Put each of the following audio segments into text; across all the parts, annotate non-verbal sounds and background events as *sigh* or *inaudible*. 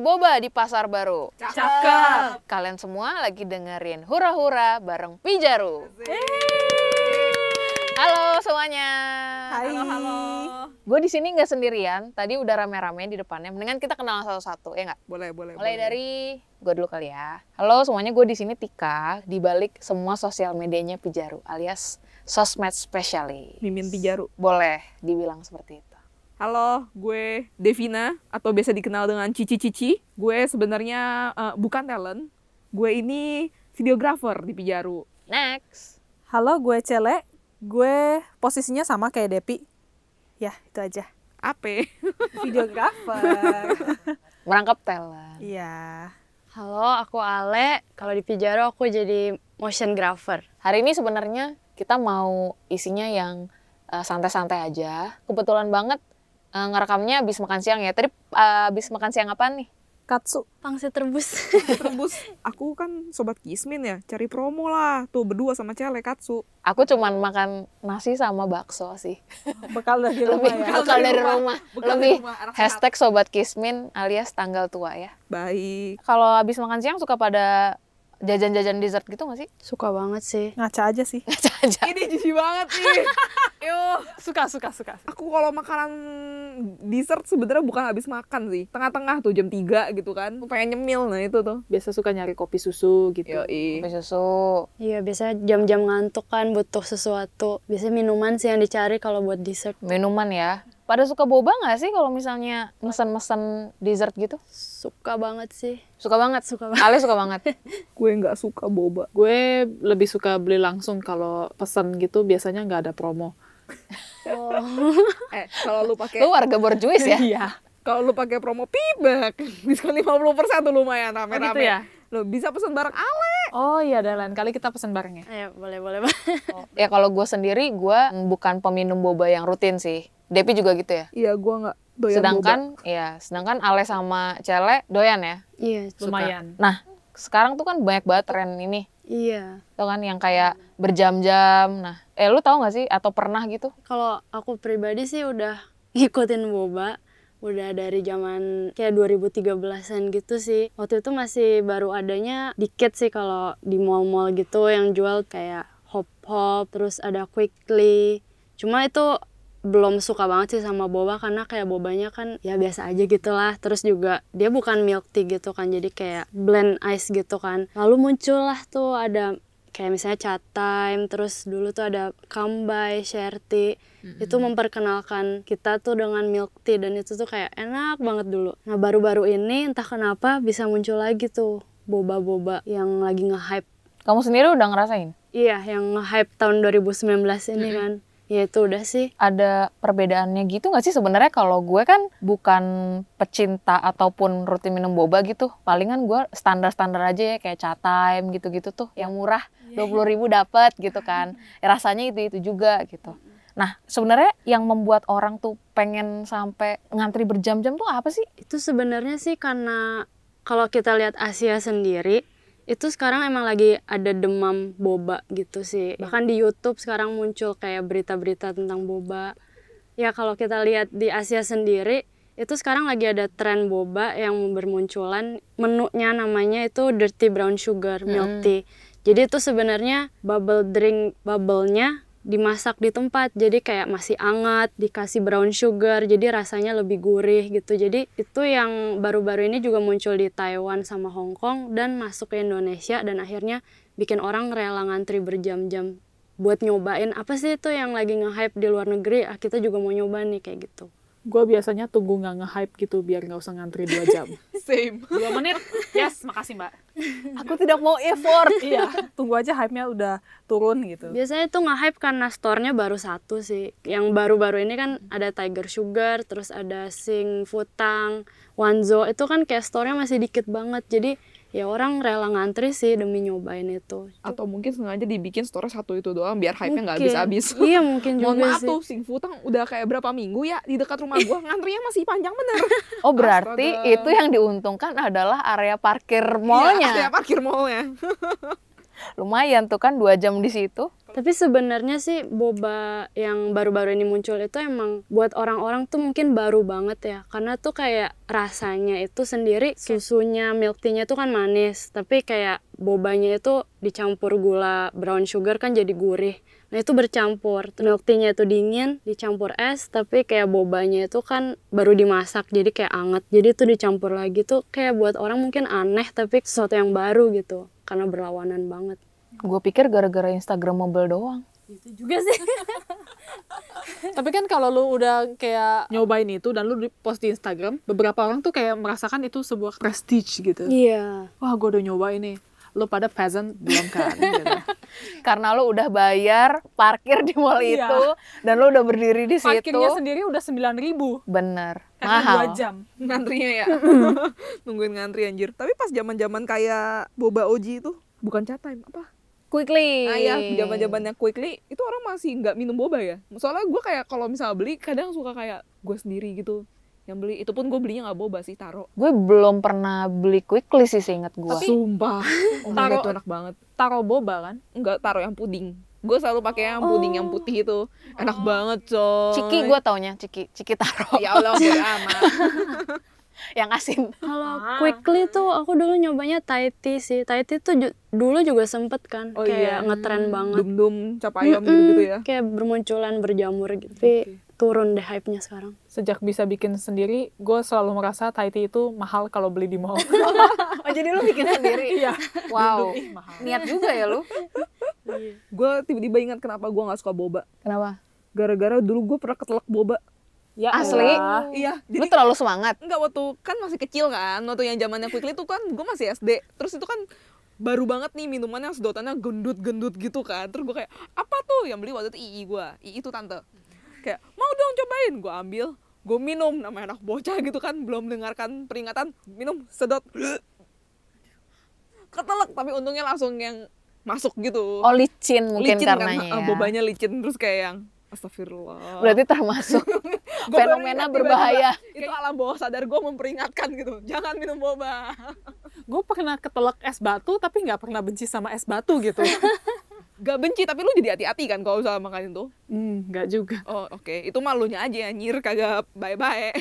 boba di pasar baru. Cakep. Kalian semua lagi dengerin Hura Hura bareng Pijaru. Halo semuanya. Hai. Halo, halo. Gue di sini nggak sendirian. Tadi udah rame-rame di depannya. Mendingan kita kenal satu-satu ya nggak? Boleh, boleh. Mulai dari gue dulu kali ya. Halo semuanya, gue di sini Tika. Di balik semua sosial medianya Pijaru alias sosmed specialist. Mimin Pijaru. Boleh dibilang seperti itu. Halo, gue Devina atau biasa dikenal dengan Cici Cici. Gue sebenarnya eh, bukan talent. Gue ini videographer di Pijaru. Next. Halo, gue Cele. Gue posisinya sama kayak Depi. Ya, itu aja. Ape. *laughs* Videographer. Merangkap talent. Iya. Halo, aku Ale. Kalau di Pijaro aku jadi motion grapher. Hari ini sebenarnya kita mau isinya yang eh, santai-santai aja. Kebetulan banget eh, ngerekamnya abis makan siang ya. Tadi eh, abis makan siang apa nih? Katsu. Pangsit rebus. *laughs* Terus aku kan sobat Kismin ya, cari promo lah. Tuh berdua sama Cele Katsu. Aku cuman makan nasi sama bakso sih. Bekal dari Lebih *laughs* rumah ya. bekal dari rumah. Lebih Hashtag Sobat Kismin alias tanggal tua ya. Baik. Kalau habis makan siang suka pada jajan-jajan dessert gitu gak sih? *laughs* Suka banget sih. Ngaca aja sih. Jajan. Ini jijik banget nih. Yuh. Iya, Suka, suka, suka. Aku kalau makanan dessert sebenarnya bukan habis makan sih. Tengah-tengah tuh jam 3 gitu kan. Aku pengen nyemil nah itu tuh. biasa suka nyari kopi susu gitu. Yoi. Kopi susu. Iya, biasanya jam-jam ngantuk kan butuh sesuatu. Biasanya minuman sih yang dicari kalau buat dessert. Minuman ya. Pada suka boba gak sih kalau misalnya mesen-mesen dessert gitu? Suka banget sih. Suka banget. Suka banget. Ale suka banget. Gue nggak suka boba. Gue lebih suka beli langsung kalau pesan gitu biasanya nggak ada promo. Oh. Eh, kalau lu pakai Lu warga borjuis *laughs* ya? Iya. kalau lu pakai promo pibak *laughs* diskon 50% tuh lumayan rame-rame. gitu ya? Lu bisa pesan barang Ale. Oh iya, ada lain kali kita pesan bareng ya. *laughs* Ayo, boleh, boleh. ya kalau gue sendiri, gue bukan peminum boba yang rutin sih. Depi juga gitu ya. Iya, gua nggak Oh, doyan boba. Sedangkan, ya, sedangkan Ale sama Cele doyan ya. Iya, Lumayan. Sekarang tuh kan banyak banget tren ini. Iya. Tuh kan yang kayak berjam-jam. Nah, eh lu tahu nggak sih atau pernah gitu? Kalau aku pribadi sih udah *laughs* ngikutin boba udah dari zaman kayak 2013-an gitu sih. Waktu itu masih baru adanya dikit sih kalau di mall-mall gitu yang jual kayak hop hop terus ada quickly. Cuma itu belum suka banget sih sama boba karena kayak bobanya kan ya biasa aja gitu lah terus juga dia bukan milk tea gitu kan jadi kayak blend ice gitu kan lalu muncullah tuh ada kayak misalnya chat time terus dulu tuh ada kambai share tea itu memperkenalkan kita tuh dengan milk tea dan itu tuh kayak enak banget dulu nah baru-baru ini entah kenapa bisa muncul lagi tuh boba-boba yang lagi nge-hype Kamu sendiri udah ngerasain? iya yang nge-hype tahun 2019 ini kan ya itu udah sih Ada perbedaannya gitu nggak sih sebenarnya kalau gue kan bukan pecinta ataupun rutin minum boba gitu. Palingan gue standar-standar aja ya kayak chat time gitu-gitu tuh yang murah Iya. dua puluh ribu dapat gitu *laughs* kan. Ya, Rasanya itu itu juga gitu. Nah sebenarnya yang membuat orang tuh pengen sampai ngantri berjam-jam tuh apa sih? itu sebenarnya sih karena kalau kita lihat Asia sendiri itu sekarang emang lagi ada demam boba gitu sih bahkan di YouTube sekarang muncul kayak berita-berita tentang boba ya kalau kita lihat di Asia sendiri itu sekarang lagi ada tren boba yang bermunculan menunya namanya itu dirty brown sugar milk Mm. tea jadi itu sebenarnya bubble drink bubble-nya dimasak di tempat jadi kayak masih anget dikasih brown sugar jadi rasanya lebih gurih gitu jadi itu yang baru-baru ini juga muncul di Taiwan sama Hong Kong dan masuk ke Indonesia dan akhirnya bikin orang rela ngantri berjam-jam buat nyobain apa sih itu yang lagi nge-hype di luar negeri ah kita juga mau nyoba nih kayak gitu Gue biasanya tunggu nggak nge-hype gitu biar nggak usah ngantri dua jam. *laughs* Same. dua menit? Yes, makasih mbak. Aku tidak mau effort. *laughs* Iya. Tunggu aja hype-nya udah turun gitu. Biasanya tuh nge-hype karena store-nya baru satu sih. Yang baru-baru ini kan Hmm. ada Tiger Sugar, terus ada Sing Futang, Wanzo. Itu kan kayak store-nya masih dikit banget. Jadi ya orang rela ngantri sih demi nyobain itu. Atau mungkin sengaja dibikin store satu itu doang biar hype-nya nggak Mungkin. habis-habis. *laughs* Iya mungkin juga Mohon maaf sih. tuh, Sing Futang udah kayak berapa minggu ya di dekat rumah gua ngantrinya masih panjang *laughs* bener. *laughs* Oh berarti Astaga. itu yang diuntungkan adalah area parkir Iya, mallnya. ada parkir mallnya. Lumayan tuh kan dua jam di situ. Tapi sebenarnya sih boba yang baru-baru ini muncul itu emang buat orang-orang tuh mungkin baru banget ya. Karena tuh kayak rasanya itu sendiri susunya, milk tea-nya tuh kan manis. Tapi kayak bobanya itu dicampur gula brown sugar kan jadi gurih. Nah itu bercampur. Milk tea-nya itu dingin, dicampur es. Tapi kayak bobanya itu kan baru dimasak jadi kayak anget. Jadi itu dicampur lagi tuh kayak buat orang mungkin aneh tapi sesuatu yang baru gitu. Karena berlawanan banget. Gue pikir gara-gara Instagramable doang. Itu juga sih. *laughs* Tapi kan kalau lu udah kayak nyobain itu dan lu di- post di Instagram, beberapa orang tuh kayak merasakan itu sebuah prestige gitu. Iya. Wah, gue udah nyobain nih. Lu pada peasant belum kan? *laughs* gitu. Karena lo udah bayar parkir di mall Iya. itu dan lo udah berdiri di Parkirnya situ. sendiri udah 9.000 ribu. Bener. Mahal. Mahal. jam. *laughs* Ngantrinya ya. Nungguin ngantri anjir. Tapi pas zaman-zaman kayak boba oji itu bukan chat time apa? Quickly. Nah ya, zaman-zamannya quickly itu orang masih nggak minum boba ya. Soalnya gue kayak kalau misalnya beli kadang suka kayak gue sendiri gitu yang beli. Itu pun gue belinya nggak boba sih taro. Gue belum pernah beli quickly sih seinget gue. *laughs* Sumpah. Oh, Taro- itu enak banget. Taro boba kan? Enggak taro yang puding. Gue selalu pakai yang puding yang putih itu. Enak banget, coy. Ciki gue taunya, Ciki. Ciki taro Ya *laughs* Allah, bodo amat. yang asin. Kalau quickly tuh aku dulu nyobanya Thai tea sih. Thai tea tuh ju- dulu juga sempet kan Oh iya. kayak ngetren banget. Dum-dum, cap ayam Mm-mm, gitu ya. Kayak bermunculan berjamur gitu. Tapi turun deh hype-nya sekarang. Sejak bisa bikin sendiri, gue selalu merasa Thai tea itu mahal kalau beli di *laughs* mall. Oh, jadi lo bikin sendiri? Iya. Wow. Ih, mahal. Niat juga ya lo. Gue tiba-tiba ingat kenapa gue nggak suka boba. Kenapa? Gara-gara dulu gue pernah ketelak boba. *laughs* Ya Asli? elah. Iya, Lo jadi terlalu semangat. enggak waktu kan masih kecil kan. Waktu yang zamannya quickly tuh kan gue masih SD. Terus itu kan baru banget nih minuman yang sedotannya gendut-gendut gitu kan. Terus gue kayak, apa tuh? Yang beli waktu itu Ii gue. Ii itu tante. Kayak, mau dong cobain. Gue ambil, gue minum. Namanya anak bocah gitu kan. Belum dengarkan peringatan. Minum, sedot. Ketelek, tapi untungnya langsung yang masuk gitu. Oh, licin mungkin licin karenanya kan, ya. bobanya licin. Terus kayak yang, astagfirullah. Berarti termasuk *laughs* Gua baru fenomena ingat tiba-tiba, berbahaya. *laughs* itu alam bawah sadar gue memperingatkan gitu jangan minum boba *laughs* Gue pernah ketelak es batu, tapi nggak pernah benci sama es batu *laughs* gitu. gak benci tapi lu jadi hati-hati kan kalau usah makan itu Hmm, nggak juga. oh oke itu malunya aja nyir kagak bye-bye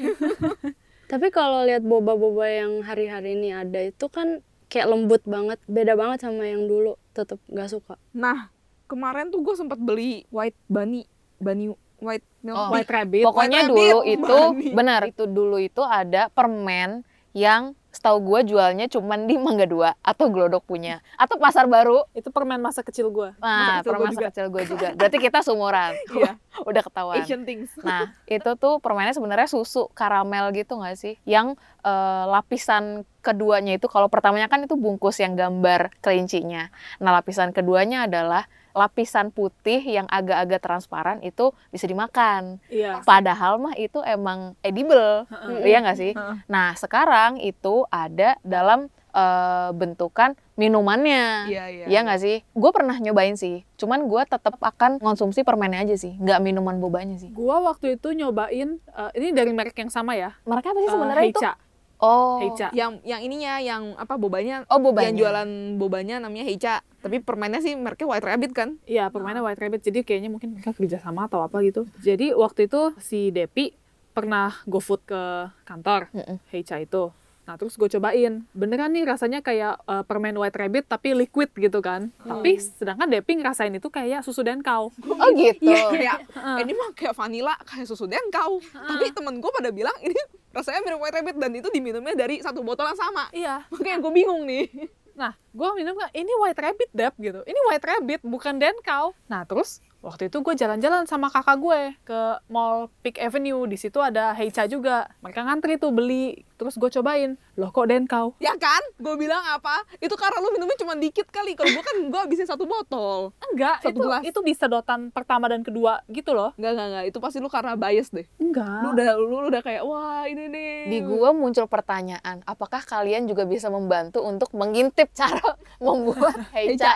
Tapi kalau lihat boba-boba yang hari-hari ini ada itu kan kayak lembut banget, beda banget sama yang dulu. Tetep gak suka. *laughs* nah kemarin tuh gue sempat beli white bunny bunny white milk Oh. tea. White rabbit. Pokoknya Rabbit, *laughs* dulu Bani. itu benar itu dulu itu ada permen yang setahu gue jualnya cuman di Mangga Dua atau Glodok punya atau Pasar Baru. Itu permen masa kecil gue. Nah, Masa kecil gua permen masa juga. kecil gue juga. Berarti kita *laughs* seumuran. *laughs* Iya. Udah ketahuan. Asian things Nah, *laughs* itu tuh permennya sebenarnya susu karamel gitu nggak sih? Yang eh, lapisan keduanya itu kalau pertamanya kan itu bungkus yang gambar kelincinya. Nah, lapisan keduanya adalah lapisan putih yang agak-agak transparan itu bisa dimakan. Iya. Padahal mah itu emang edible, iya nggak sih? Heeh. Nah sekarang itu ada dalam eh, bentukan minumannya, iya iya iya nggak sih? Gue pernah nyobain sih, cuman gue tetap akan konsumsi permennya aja sih, nggak minuman bobanya sih. Gue waktu itu nyobain, eh, ini dari merek yang sama ya. Mereka apa sih eh, sebenarnya itu? Heica. Oh, Heica. yang yang ininya yang apa bobanya oh bobanya. yang jualan bobanya namanya Heica tapi permennya sih mereknya White Rabbit kan Iya, permainan White Rabbit. Jadi kayaknya mungkin mereka kerja sama atau apa gitu. Jadi waktu itu si Depi pernah go food ke kantor Mm-mm. Heicha itu. Nah terus gue cobain, beneran nih rasanya kayak eh, permen White Rabbit tapi liquid gitu kan. Hmm. Tapi sedangkan Depi ngerasain itu kayak susu dan kau. Oh gitu. kayak ini mah kayak vanilla kayak susu dan kau tapi temen gue pada bilang ini rasanya mirip white rabbit dan itu diminumnya dari satu botol yang sama Iya. makanya gue bingung nih Nah gue minum kan, ini White Rabbit Dep gitu. Ini White Rabbit bukan dan kau. Nah terus waktu itu gue jalan-jalan sama kakak gue ke Mall Peak Avenue. Di situ ada Heicha juga. Mereka ngantri tuh beli. Terus gue cobain, loh kok dan kau? ya kan gue bilang apa itu karena lu minumnya cuma dikit kali kalau gue kan gue habisin satu botol Enggak, Satu itu gelas. itu di sedotan pertama dan kedua gitu loh. Enggak, enggak, enggak. Itu pasti lu karena bias deh. Lu Enggak. udah, lu udah kayak, wah ini nih. Di gua muncul pertanyaan, apakah kalian juga bisa membantu untuk mengintip cara *laughs* membuat Heica,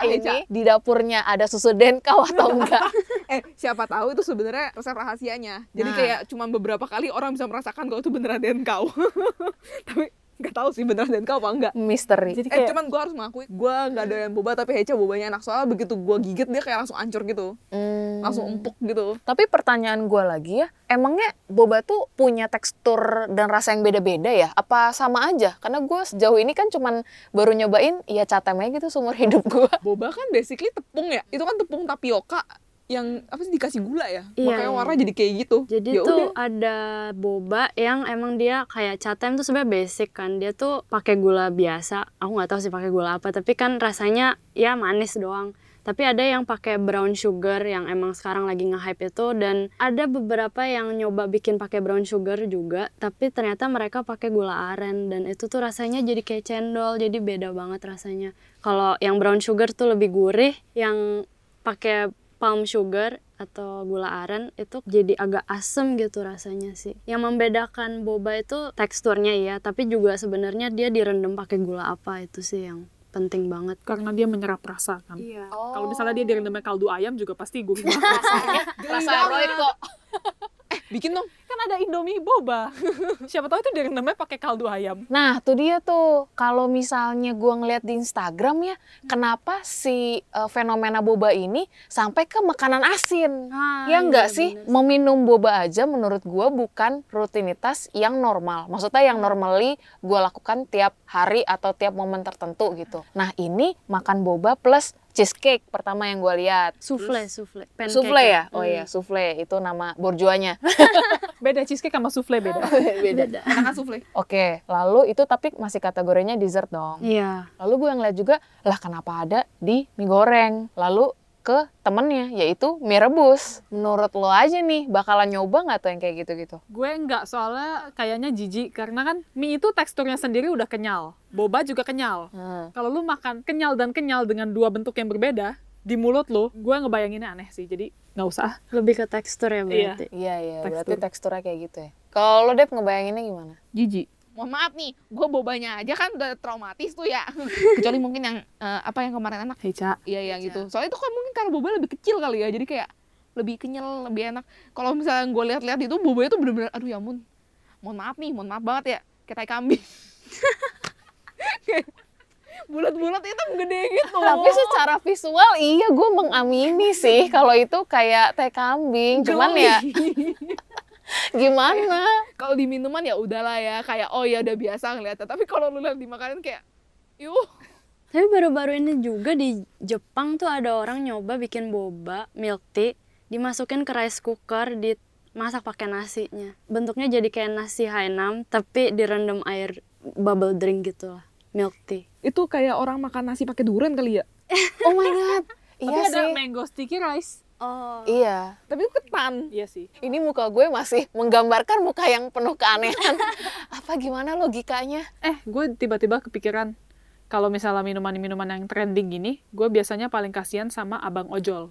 Heica Heica. ini di dapurnya ada susu denkau *laughs* atau enggak? Eh, siapa tahu itu sebenarnya resep rahasianya. Jadi Nah. kayak cuma beberapa kali orang bisa merasakan kalau itu beneran dan kau. *laughs* Tapi nggak tahu sih beneran dan kau apa enggak misteri eh Jadi kayak cuman gue harus mengakui gue nggak doyan boba tapi Hecha bobanya enak soalnya begitu gue gigit dia kayak langsung ancur gitu Hmm. langsung empuk gitu Tapi pertanyaan gue lagi ya, emangnya boba tuh punya tekstur dan rasa yang beda-beda ya? Apa sama aja? Karena gue sejauh ini kan cuman baru nyobain ya catamnya gitu seumur hidup gue. boba kan basically tepung ya itu kan tepung tapioka yang apa sih dikasih gula ya Iya, makanya iya. warna jadi kayak gitu Jadi ya udah tuh ada boba yang emang dia kayak catem tuh sebenarnya basic kan. Dia tuh pakai gula biasa. Aku nggak tahu sih pakai gula apa, tapi kan rasanya ya manis doang. Tapi ada yang pakai brown sugar yang emang sekarang lagi nge-hype itu dan ada beberapa yang nyoba bikin pakai brown sugar juga, tapi ternyata mereka pakai gula aren dan itu tuh rasanya jadi kayak cendol, jadi beda banget rasanya. Kalau yang brown sugar tuh lebih gurih, yang pakai palm sugar atau gula aren itu jadi agak asem gitu rasanya sih. Yang membedakan boba itu teksturnya ya, tapi juga sebenarnya dia direndam pakai gula apa itu sih yang penting banget. karena dia menyerap rasa kan. Iya. Oh. Kalau misalnya dia direndamnya kaldu ayam juga pasti *laughs* gue rasa roid kok. bikin dong kan ada Indomie boba. Siapa tahu itu direndamnya pakai kaldu ayam. Nah tuh dia tuh, kalau misalnya gue ngeliat di Instagram ya, kenapa si eh, fenomena boba ini sampai ke makanan asin? Nah, Ya enggak iya, sih, meminum boba aja menurut gua bukan rutinitas yang normal. Maksudnya yang normally gua lakukan tiap hari atau tiap momen tertentu gitu. Nah ini makan boba plus cheesecake pertama yang gua lihat. Souffle, souffle. Pancake Souffle ya? Oh Hmm. iya, souffle itu nama borjuanya. Beda cheesecake sama souffle *laughs* beda. Beda. enakan souffle Oke, lalu itu tapi masih kategorinya dessert dong. Iya. Lalu gue ngeliat juga, lah kenapa ada di mie goreng? Lalu ke temennya, yaitu mie rebus. Menurut lo aja nih, bakalan nyoba nggak tuh yang kayak gitu-gitu? Gue enggak soalnya kayaknya jijik karena kan mie itu teksturnya sendiri udah kenyal. Boba juga kenyal. Hmm. Kalau lu makan kenyal dan kenyal dengan dua bentuk yang berbeda di mulut lu, gue ngebayanginnya aneh sih. Jadi nggak usah. Lebih ke tekstur ya berarti. Iya, iya. Tekstur. Berarti teksturnya kayak gitu ya. Kalau lo Dep ngebayanginnya gimana? Jijik. mohon maaf nih gue bobanya aja kan udah traumatis tuh ya kecuali mungkin yang eh, apa yang kemarin enak Hei, Ca. Iya iya gitu. Soalnya itu kan mungkin karena boba lebih kecil kali ya. Jadi kayak lebih kenyal, lebih enak. Kalau misalnya gue lihat-lihat itu bobanya tuh bener-bener aduh ya ampun. Mohon maaf nih, mohon maaf banget ya. Kayak tai kambing. *laughs* Kayak Bulat-bulat itu gede gitu. Tapi secara visual iya gue mengamini sih kalau itu kayak teh kambing. Cuman ya *laughs* gimana? Kalau di minuman ya udahlah ya, kayak oh ya udah biasa ngeliatnya. Tapi kalau lu lihat di makanan kayak yuh, Tapi baru-baru ini juga di Jepang tuh ada orang nyoba bikin boba milk tea dimasukin ke rice cooker di masak pakai nasinya. Bentuknya jadi kayak nasi Hainam tapi direndam air bubble drink gitu lah, milk tea. itu kayak orang makan nasi pakai durian kali ya. Oh my god. Tapi Iya ada sih. mango sticky rice. Oh. Iya. Tapi itu ketan. Iya sih. Ini muka gue masih menggambarkan muka yang penuh keanehan. Apa gimana logikanya? Eh, gue tiba-tiba kepikiran kalau misalnya minuman-minuman yang trending gini, gue biasanya paling kasihan sama abang ojol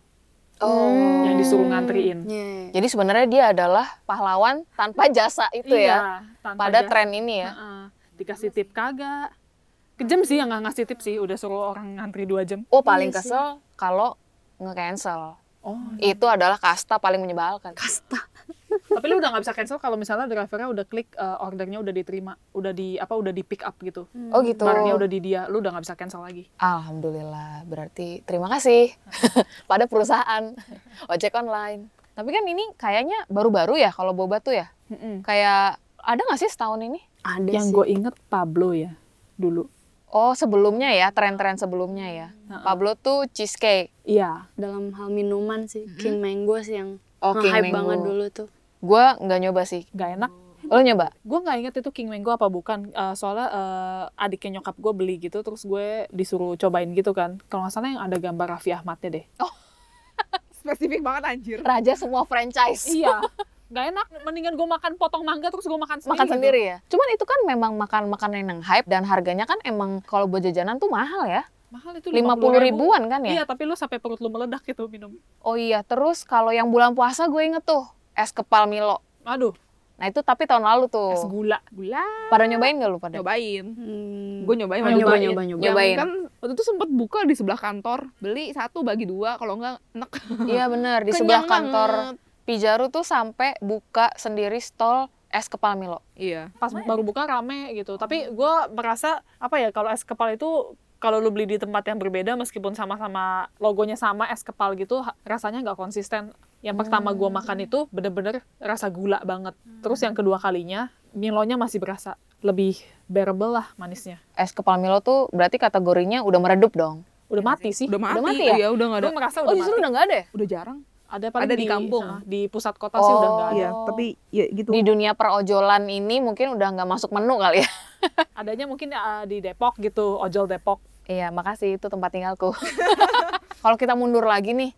Oh. yang disuruh ngantriin. Iya. Jadi sebenarnya dia adalah pahlawan tanpa jasa itu ya. Iya, tanpa Iya Pada jas- tren ini ya. Heeh. dikasih tip kagak. Kejam sih yang nggak ngasih tip sih, udah suruh orang ngantri dua jam. Oh paling Iya sih. kesel kalau nge-cancel. Oh. Itu adalah kasta paling menyebalkan. Hmm, Tapi lu udah nggak bisa cancel kalau misalnya drivernya udah klik eh, ordernya udah diterima, udah di apa udah di pick up gitu. Oh gitu. Barangnya udah di dia, lu udah nggak bisa cancel lagi. Alhamdulillah, berarti terima kasih *laughs* pada perusahaan ojek online. Tapi kan ini kayaknya baru-baru ya kalau boba tuh ya. Kayak ada nggak sih setahun ini? Ada Yang sih. gue inget Pablo ya dulu. Oh sebelumnya ya, tren-tren sebelumnya ya. Pablo tuh cheesecake. Iya. Dalam hal minuman sih, King Mango sih yang Oh, King nge-hype Mango. banget dulu tuh. Gue nggak nyoba sih. Gak enak Lo nyoba? gue nggak inget itu King Mango apa bukan Eh, soalnya eh, adiknya nyokap gue beli gitu terus gue disuruh cobain gitu kan kalau nggak salah yang ada gambar Raffi Ahmadnya deh Spesifik banget anjir. Raja semua franchise. iya *laughs* nggak enak mendingan gue makan potong mangga terus gue makan sendiri Makan gitu. sendiri ya. Cuman itu kan memang makan makanan yang hype dan harganya kan emang kalau buat jajanan tuh mahal ya. mahal itu 50 ribu. ribuan kan ya? iya tapi lu sampai perut lu meledak gitu minum Oh iya, terus kalau yang bulan puasa gue inget tuh es kepal Milo. aduh Nah itu tapi tahun lalu tuh. es gula gula Pada nyobain gak lu pada? Nyobain. Hmm. gue Eh, nyobain Oh, waktu itu. nyoba, nyoba, nyoba. Iya, Yang Nyobain. kan waktu itu sempet buka di sebelah kantor beli satu bagi dua kalau enggak enak Iya bener, di Kenyang sebelah kantor banget. Pijaru tuh sampai buka sendiri stall es kepala Milo. Iya. pas baru buka rame gitu tapi gua merasa apa ya kalau es kepal itu kalau lu beli di tempat yang berbeda meskipun sama-sama logonya sama es kepal gitu ha- rasanya nggak konsisten yang pertama gua makan itu bener-bener rasa gula banget terus yang kedua kalinya milonya masih berasa lebih bearable lah manisnya Es kepala Milo tuh berarti kategorinya udah meredup dong. udah mati Iya sih Udah mati, mati ya? ya? udah nggak ada. Gua merasa Oh udah justru mati udah nggak ada. ya? Udah jarang. ada paling ada di kampung. ah, di pusat kota sih udah nggak ada Iya, Iya, Oh. tapi ya gitu. Di dunia perojolan ini mungkin udah nggak masuk menu kali ya. adanya mungkin ah, di Depok gitu ojol Depok *laughs* Iya makasih itu tempat tinggalku. *laughs* kalau kita mundur lagi nih,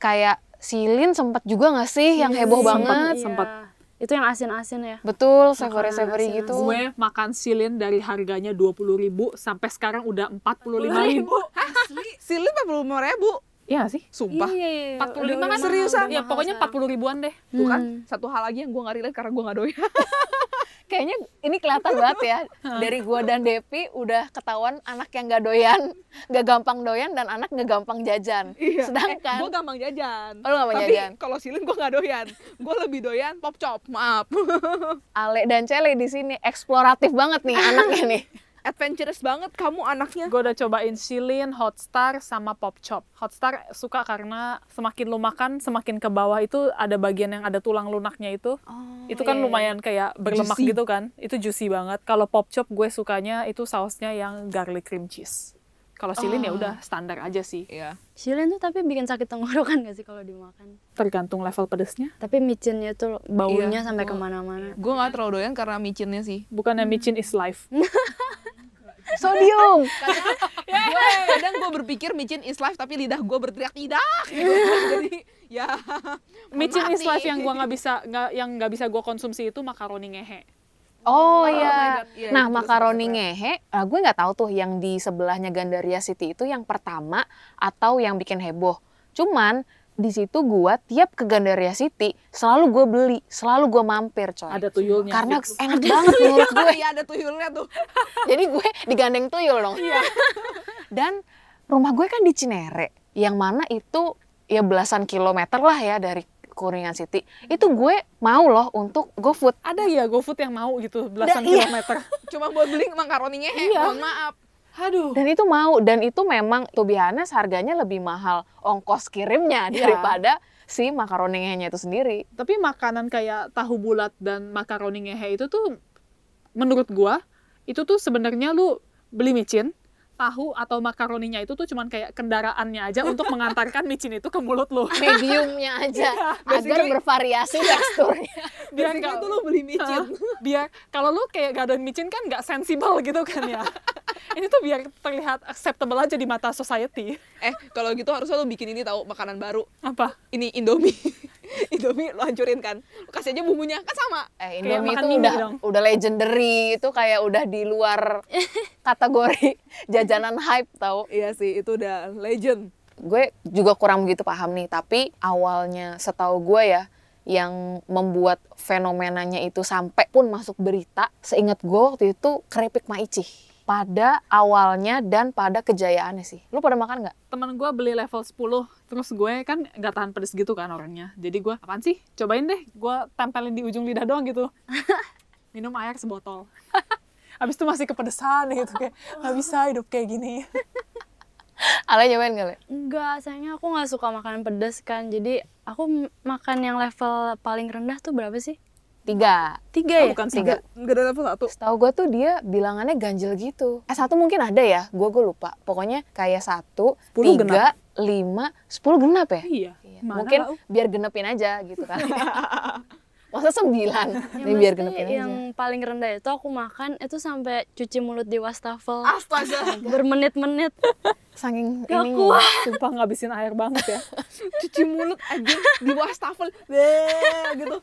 kayak Silin sempat juga nggak sih yang heboh Sempet, banget? iya. sempet. Itu yang asin-asin ya. Betul, savory-savory Makanan gitu. gue makan silin dari harganya 20.000 sampai sekarang udah 45.000 ribu. Ah, Silin 45 ribu. Iya sih? ya, Sumpah. Iya, 45 udah kan? mahal, Seriusan? udah Ya mahal pokoknya sekarang. 40 ribuan deh. Tuh kan, Hmm. satu hal lagi yang gue gak relate karena gue gak *laughs* doyan. Kayaknya ini kelihatan banget *laughs* ya. Dari gue dan Depi udah ketahuan anak yang nggak doyan, nggak gampang doyan dan anak nggak gampang jajan. Iya. Sedangkan gue Eh, gampang Oh, jajan. lu gampang Tapi jajan. kalau silin gue gak doyan. Gue lebih doyan pop chop, maaf. *laughs* Ale dan Cele di sini eksploratif banget nih anaknya nih. Adventurous banget kamu anaknya. Gue udah cobain silin, hotstar, sama pop chop. Hotstar suka karena semakin lu makan, semakin ke bawah itu ada bagian yang ada tulang lunaknya itu. itu kan lumayan kayak berlemak Juicy. gitu kan. Itu juicy banget. Kalau pop chop gue sukanya itu sausnya yang garlic cream cheese. Kalau silin ya udah standar aja sih. Iya. Shilin tuh tapi bikin sakit tenggorokan *laughs* gak sih kalau dimakan? Tergantung level pedesnya. Tapi micinnya tuh baunya Iya, sampai gua- kemana-mana. Gue gak terlalu doyan karena micinnya sih. Bukannya Hmm. micin is *laughs* life. *laughs* Sodium. Gue kadang gue berpikir micin is life tapi lidah gue berteriak tidak. gitu. Jadi ya. mohon Micin maaf is life nih. yang gua nggak bisa nggak yang nggak bisa gua konsumsi itu makaroni ngehe. Oh my iya. God, iya, Nah itu makaroni sebenarnya. ngehe, ah, gue nggak tahu tuh yang di sebelahnya Gandaria City itu yang pertama atau yang bikin heboh. Cuman di situ gue tiap ke Gandaria City selalu gue beli, selalu gue mampir coy. Ada tuyulnya. Karena enak banget menurut gue. *laughs* *laughs* Iya ada tuyulnya tuh. Jadi gue digandeng tuyul dong. *laughs* Dan rumah gue kan di Cinere, yang mana itu ya belasan kilometer lah ya dari Kuningan City. Itu gue mau loh untuk GoFood. ada ya GoFood yang mau gitu belasan Udah, iya. *laughs* kilometer. Cuma buat beli makaroninya. Iya. Mohon maaf. Aduh. Dan itu mau dan itu memang to be honest, harganya lebih mahal ongkos kirimnya Iya. daripada si makaroninya itu sendiri. Tapi makanan kayak tahu bulat dan makaroni ngehe itu tuh menurut gua itu tuh sebenarnya lu beli micin tahu atau makaroninya itu tuh cuman kayak kendaraannya aja *laughs* untuk mengantarkan micin itu ke mulut lu Mediumnya *laughs* aja agar basically- bervariasi teksturnya. biar Basically nggak tuh lu beli micin. Hah? biar kalau lu kayak gak ada micin kan nggak sensibel gitu kan ya ini tuh biar terlihat acceptable aja di mata society Eh kalau gitu harusnya lu bikin ini tahu makanan baru. apa Ini Indomie. *laughs* Indomie lo hancurin kan. Lu kasih aja bumbunya kan sama. *laughs* Eh, Kayak Indomie makan itu mie udah dong. udah legendary, itu kayak udah di *laughs* luar kategori *laughs* jajanan hype tau. Iya sih itu udah legend. gue juga kurang begitu paham nih tapi awalnya setahu gue ya yang membuat fenomenanya itu sampai pun masuk berita seingat gue waktu itu keripik maici pada awalnya dan pada kejayaannya sih lu pada makan nggak teman gue beli level 10 terus gue kan nggak tahan pedes gitu kan orangnya jadi gue apaan sih cobain deh gue tempelin di ujung lidah doang *laughs* gitu minum air sebotol *laughs* abis itu masih kepedesan gitu kayak nggak bisa hidup kayak gini Ale nyobain nggak Le? Enggak, sayangnya aku nggak suka makanan pedas kan. Jadi aku m- makan yang level paling rendah tuh berapa sih? tiga Eh, Tiga ya? bukan Oh, tiga Gak ada level satu. setahu gue tuh dia bilangannya ganjil gitu eh satu mungkin ada ya gue gue lupa pokoknya kayak satu 10 tiga lima sepuluh genap ya iya Iya. Mana Mungkin uh. lau? biar genepin aja gitu *laughs* kan. Masa sembilan? Ya, Ini biar maksudnya genepin yang aja. paling rendah itu aku makan itu sampai cuci mulut di wastafel Astaga. *laughs* bermenit-menit. Saking Gak ini kuat. sumpah ngabisin air banget ya Cuci mulut anjing di wastafel. Beh, gitu.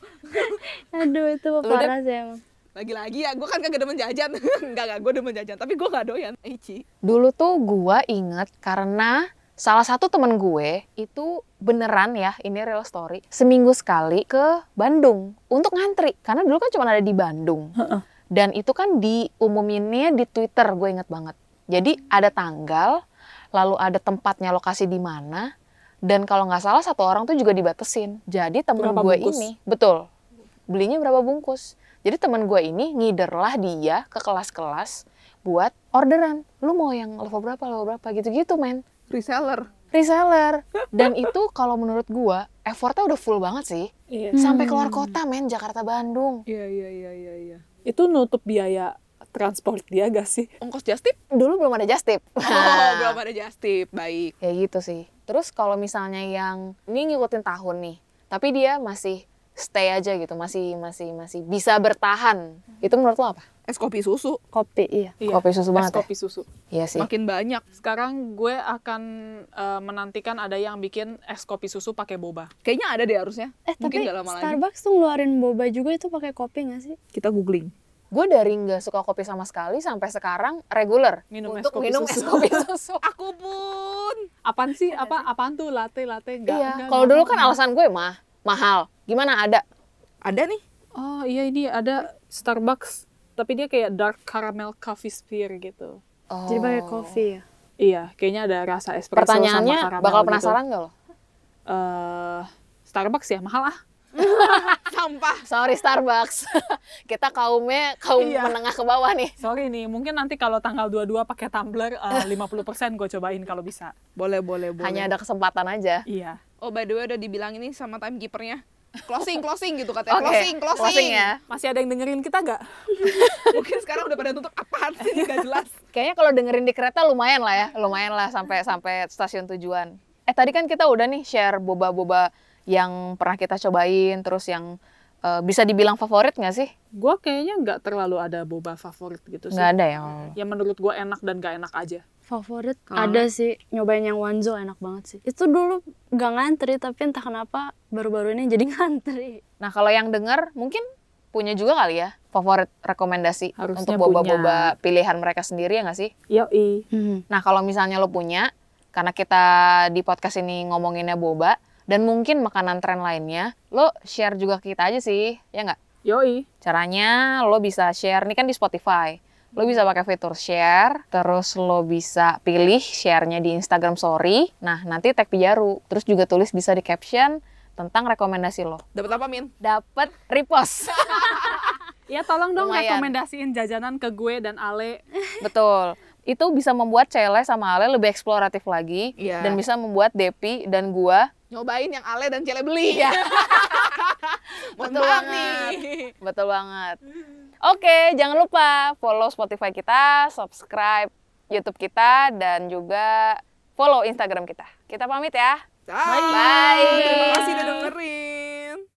Aduh itu parah sih emang. Lagi-lagi ya, gue kan kagak demen jajan. *laughs* Enggak, enggak, gue demen jajan. Tapi gue gak doyan. Eh, Ci. Dulu tuh gua inget karena salah satu temen gue itu beneran ya, ini real story. Seminggu sekali ke Bandung untuk ngantri. Karena dulu kan cuma ada di Bandung. Dan itu kan diumuminnya di Twitter, gue inget banget. Jadi ada tanggal, lalu ada tempatnya lokasi di mana, dan kalau nggak salah satu orang tuh juga dibatesin. Jadi temen Berapa gue bungkus? ini, betul, belinya berapa bungkus. Jadi teman gue ini ngiderlah dia ke kelas-kelas buat orderan. Lu mau yang level berapa, level berapa gitu-gitu men. reseller Reseller. *laughs* Dan itu kalau menurut gue effortnya udah full banget sih. *laughs* Iya. Sampai keluar kota men, Jakarta-Bandung. iya iya iya iya iya Itu nutup biaya transport dia gak sih? ongkos justip Dulu belum ada just tip. *laughs* *laughs* oh Nah. *laughs* belum ada justip baik Ya gitu sih. Terus kalau misalnya yang ini ngikutin tahun nih, tapi dia masih stay aja gitu, masih masih masih bisa bertahan. Itu menurut lo apa? es kopi susu kopi iya Iya. Kopi susu Es banget ya? kopi susu. Iya sih. makin banyak Sekarang gue akan eh, menantikan ada yang bikin es kopi susu pakai boba. kayaknya ada deh harusnya eh Mungkin tapi nggak lama lagi. Starbucks tuh ngeluarin boba juga itu pakai kopi nggak sih kita googling Gue dari nggak suka kopi sama sekali sampai sekarang reguler Minum es untuk kopi minum es susu. *laughs* *laughs* kopi susu. aku pun Apaan sih? Apa apaan tuh latte latte enggak? iya. Kalau dulu kan alasan gue mah mahal. Gimana ada? ada nih Oh, iya ini ada Starbucks tapi dia kayak dark caramel coffee spear gitu. Oh. jadi pakai kopi ya Iya, kayaknya ada rasa espresso sama Pertanyaannya karamel bakal gitu. penasaran nggak lo? Eh, Starbucks ya mahal ah. *laughs* sampah Sorry Starbucks. *laughs* Kita kaumnya kaum Iya. menengah ke bawah nih. Sorry nih, mungkin nanti kalau tanggal 22 pakai *laughs* tumbler eh, 50% gue cobain kalau bisa. boleh boleh boleh Hanya ada kesempatan aja. Iya. oh by the way udah dibilang ini sama timekeepernya closing *laughs* closing gitu katanya Oke, closing closing, ya. Masih ada yang dengerin kita gak? *laughs* mungkin sekarang udah pada tutup apaan sih nggak jelas Kayaknya kalau dengerin di kereta lumayan lah ya, lumayan lah sampai sampai stasiun tujuan. Eh tadi kan kita udah nih share boba-boba yang pernah kita cobain, terus yang eh, bisa dibilang favorit nggak sih? Gue kayaknya nggak terlalu ada boba favorit gitu sih. Nggak ada ya. Yang menurut gue enak dan gak enak aja. favorit Kalau- ada sih nyobain yang Wanzo enak banget sih itu dulu gak ngantri tapi entah kenapa baru-baru ini jadi *laughs* ngantri Nah kalau yang denger mungkin punya juga kali ya favorit rekomendasi Harusnya untuk boba-boba pilihan mereka sendiri ya nggak sih? Yoi. Nah kalau misalnya lo punya, karena kita di podcast ini ngomonginnya boba dan mungkin makanan tren lainnya, lo share juga ke kita aja sih, ya nggak? Yoi. Caranya lo bisa share, ini kan di Spotify. Lo bisa pakai fitur share, terus lo bisa pilih sharenya di Instagram Story. Nah, nanti tag Pijaru. Terus juga tulis bisa di caption tentang rekomendasi lo. dapat apa min Dapat repost. Ya tolong dong Lumayan. rekomendasiin jajanan ke gue dan Ale. Betul. Itu bisa membuat Cele sama Ale lebih eksploratif lagi. Iya. Dan bisa membuat Depi dan gua nyobain yang Ale dan Cele beli Iya. *laughs* Mohon Betul maaf banget. nih Betul banget. Oke, jangan lupa follow Spotify kita, subscribe YouTube kita, dan juga follow Instagram kita. Kita pamit ya. Bye. Bye. Terima kasih udah dengerin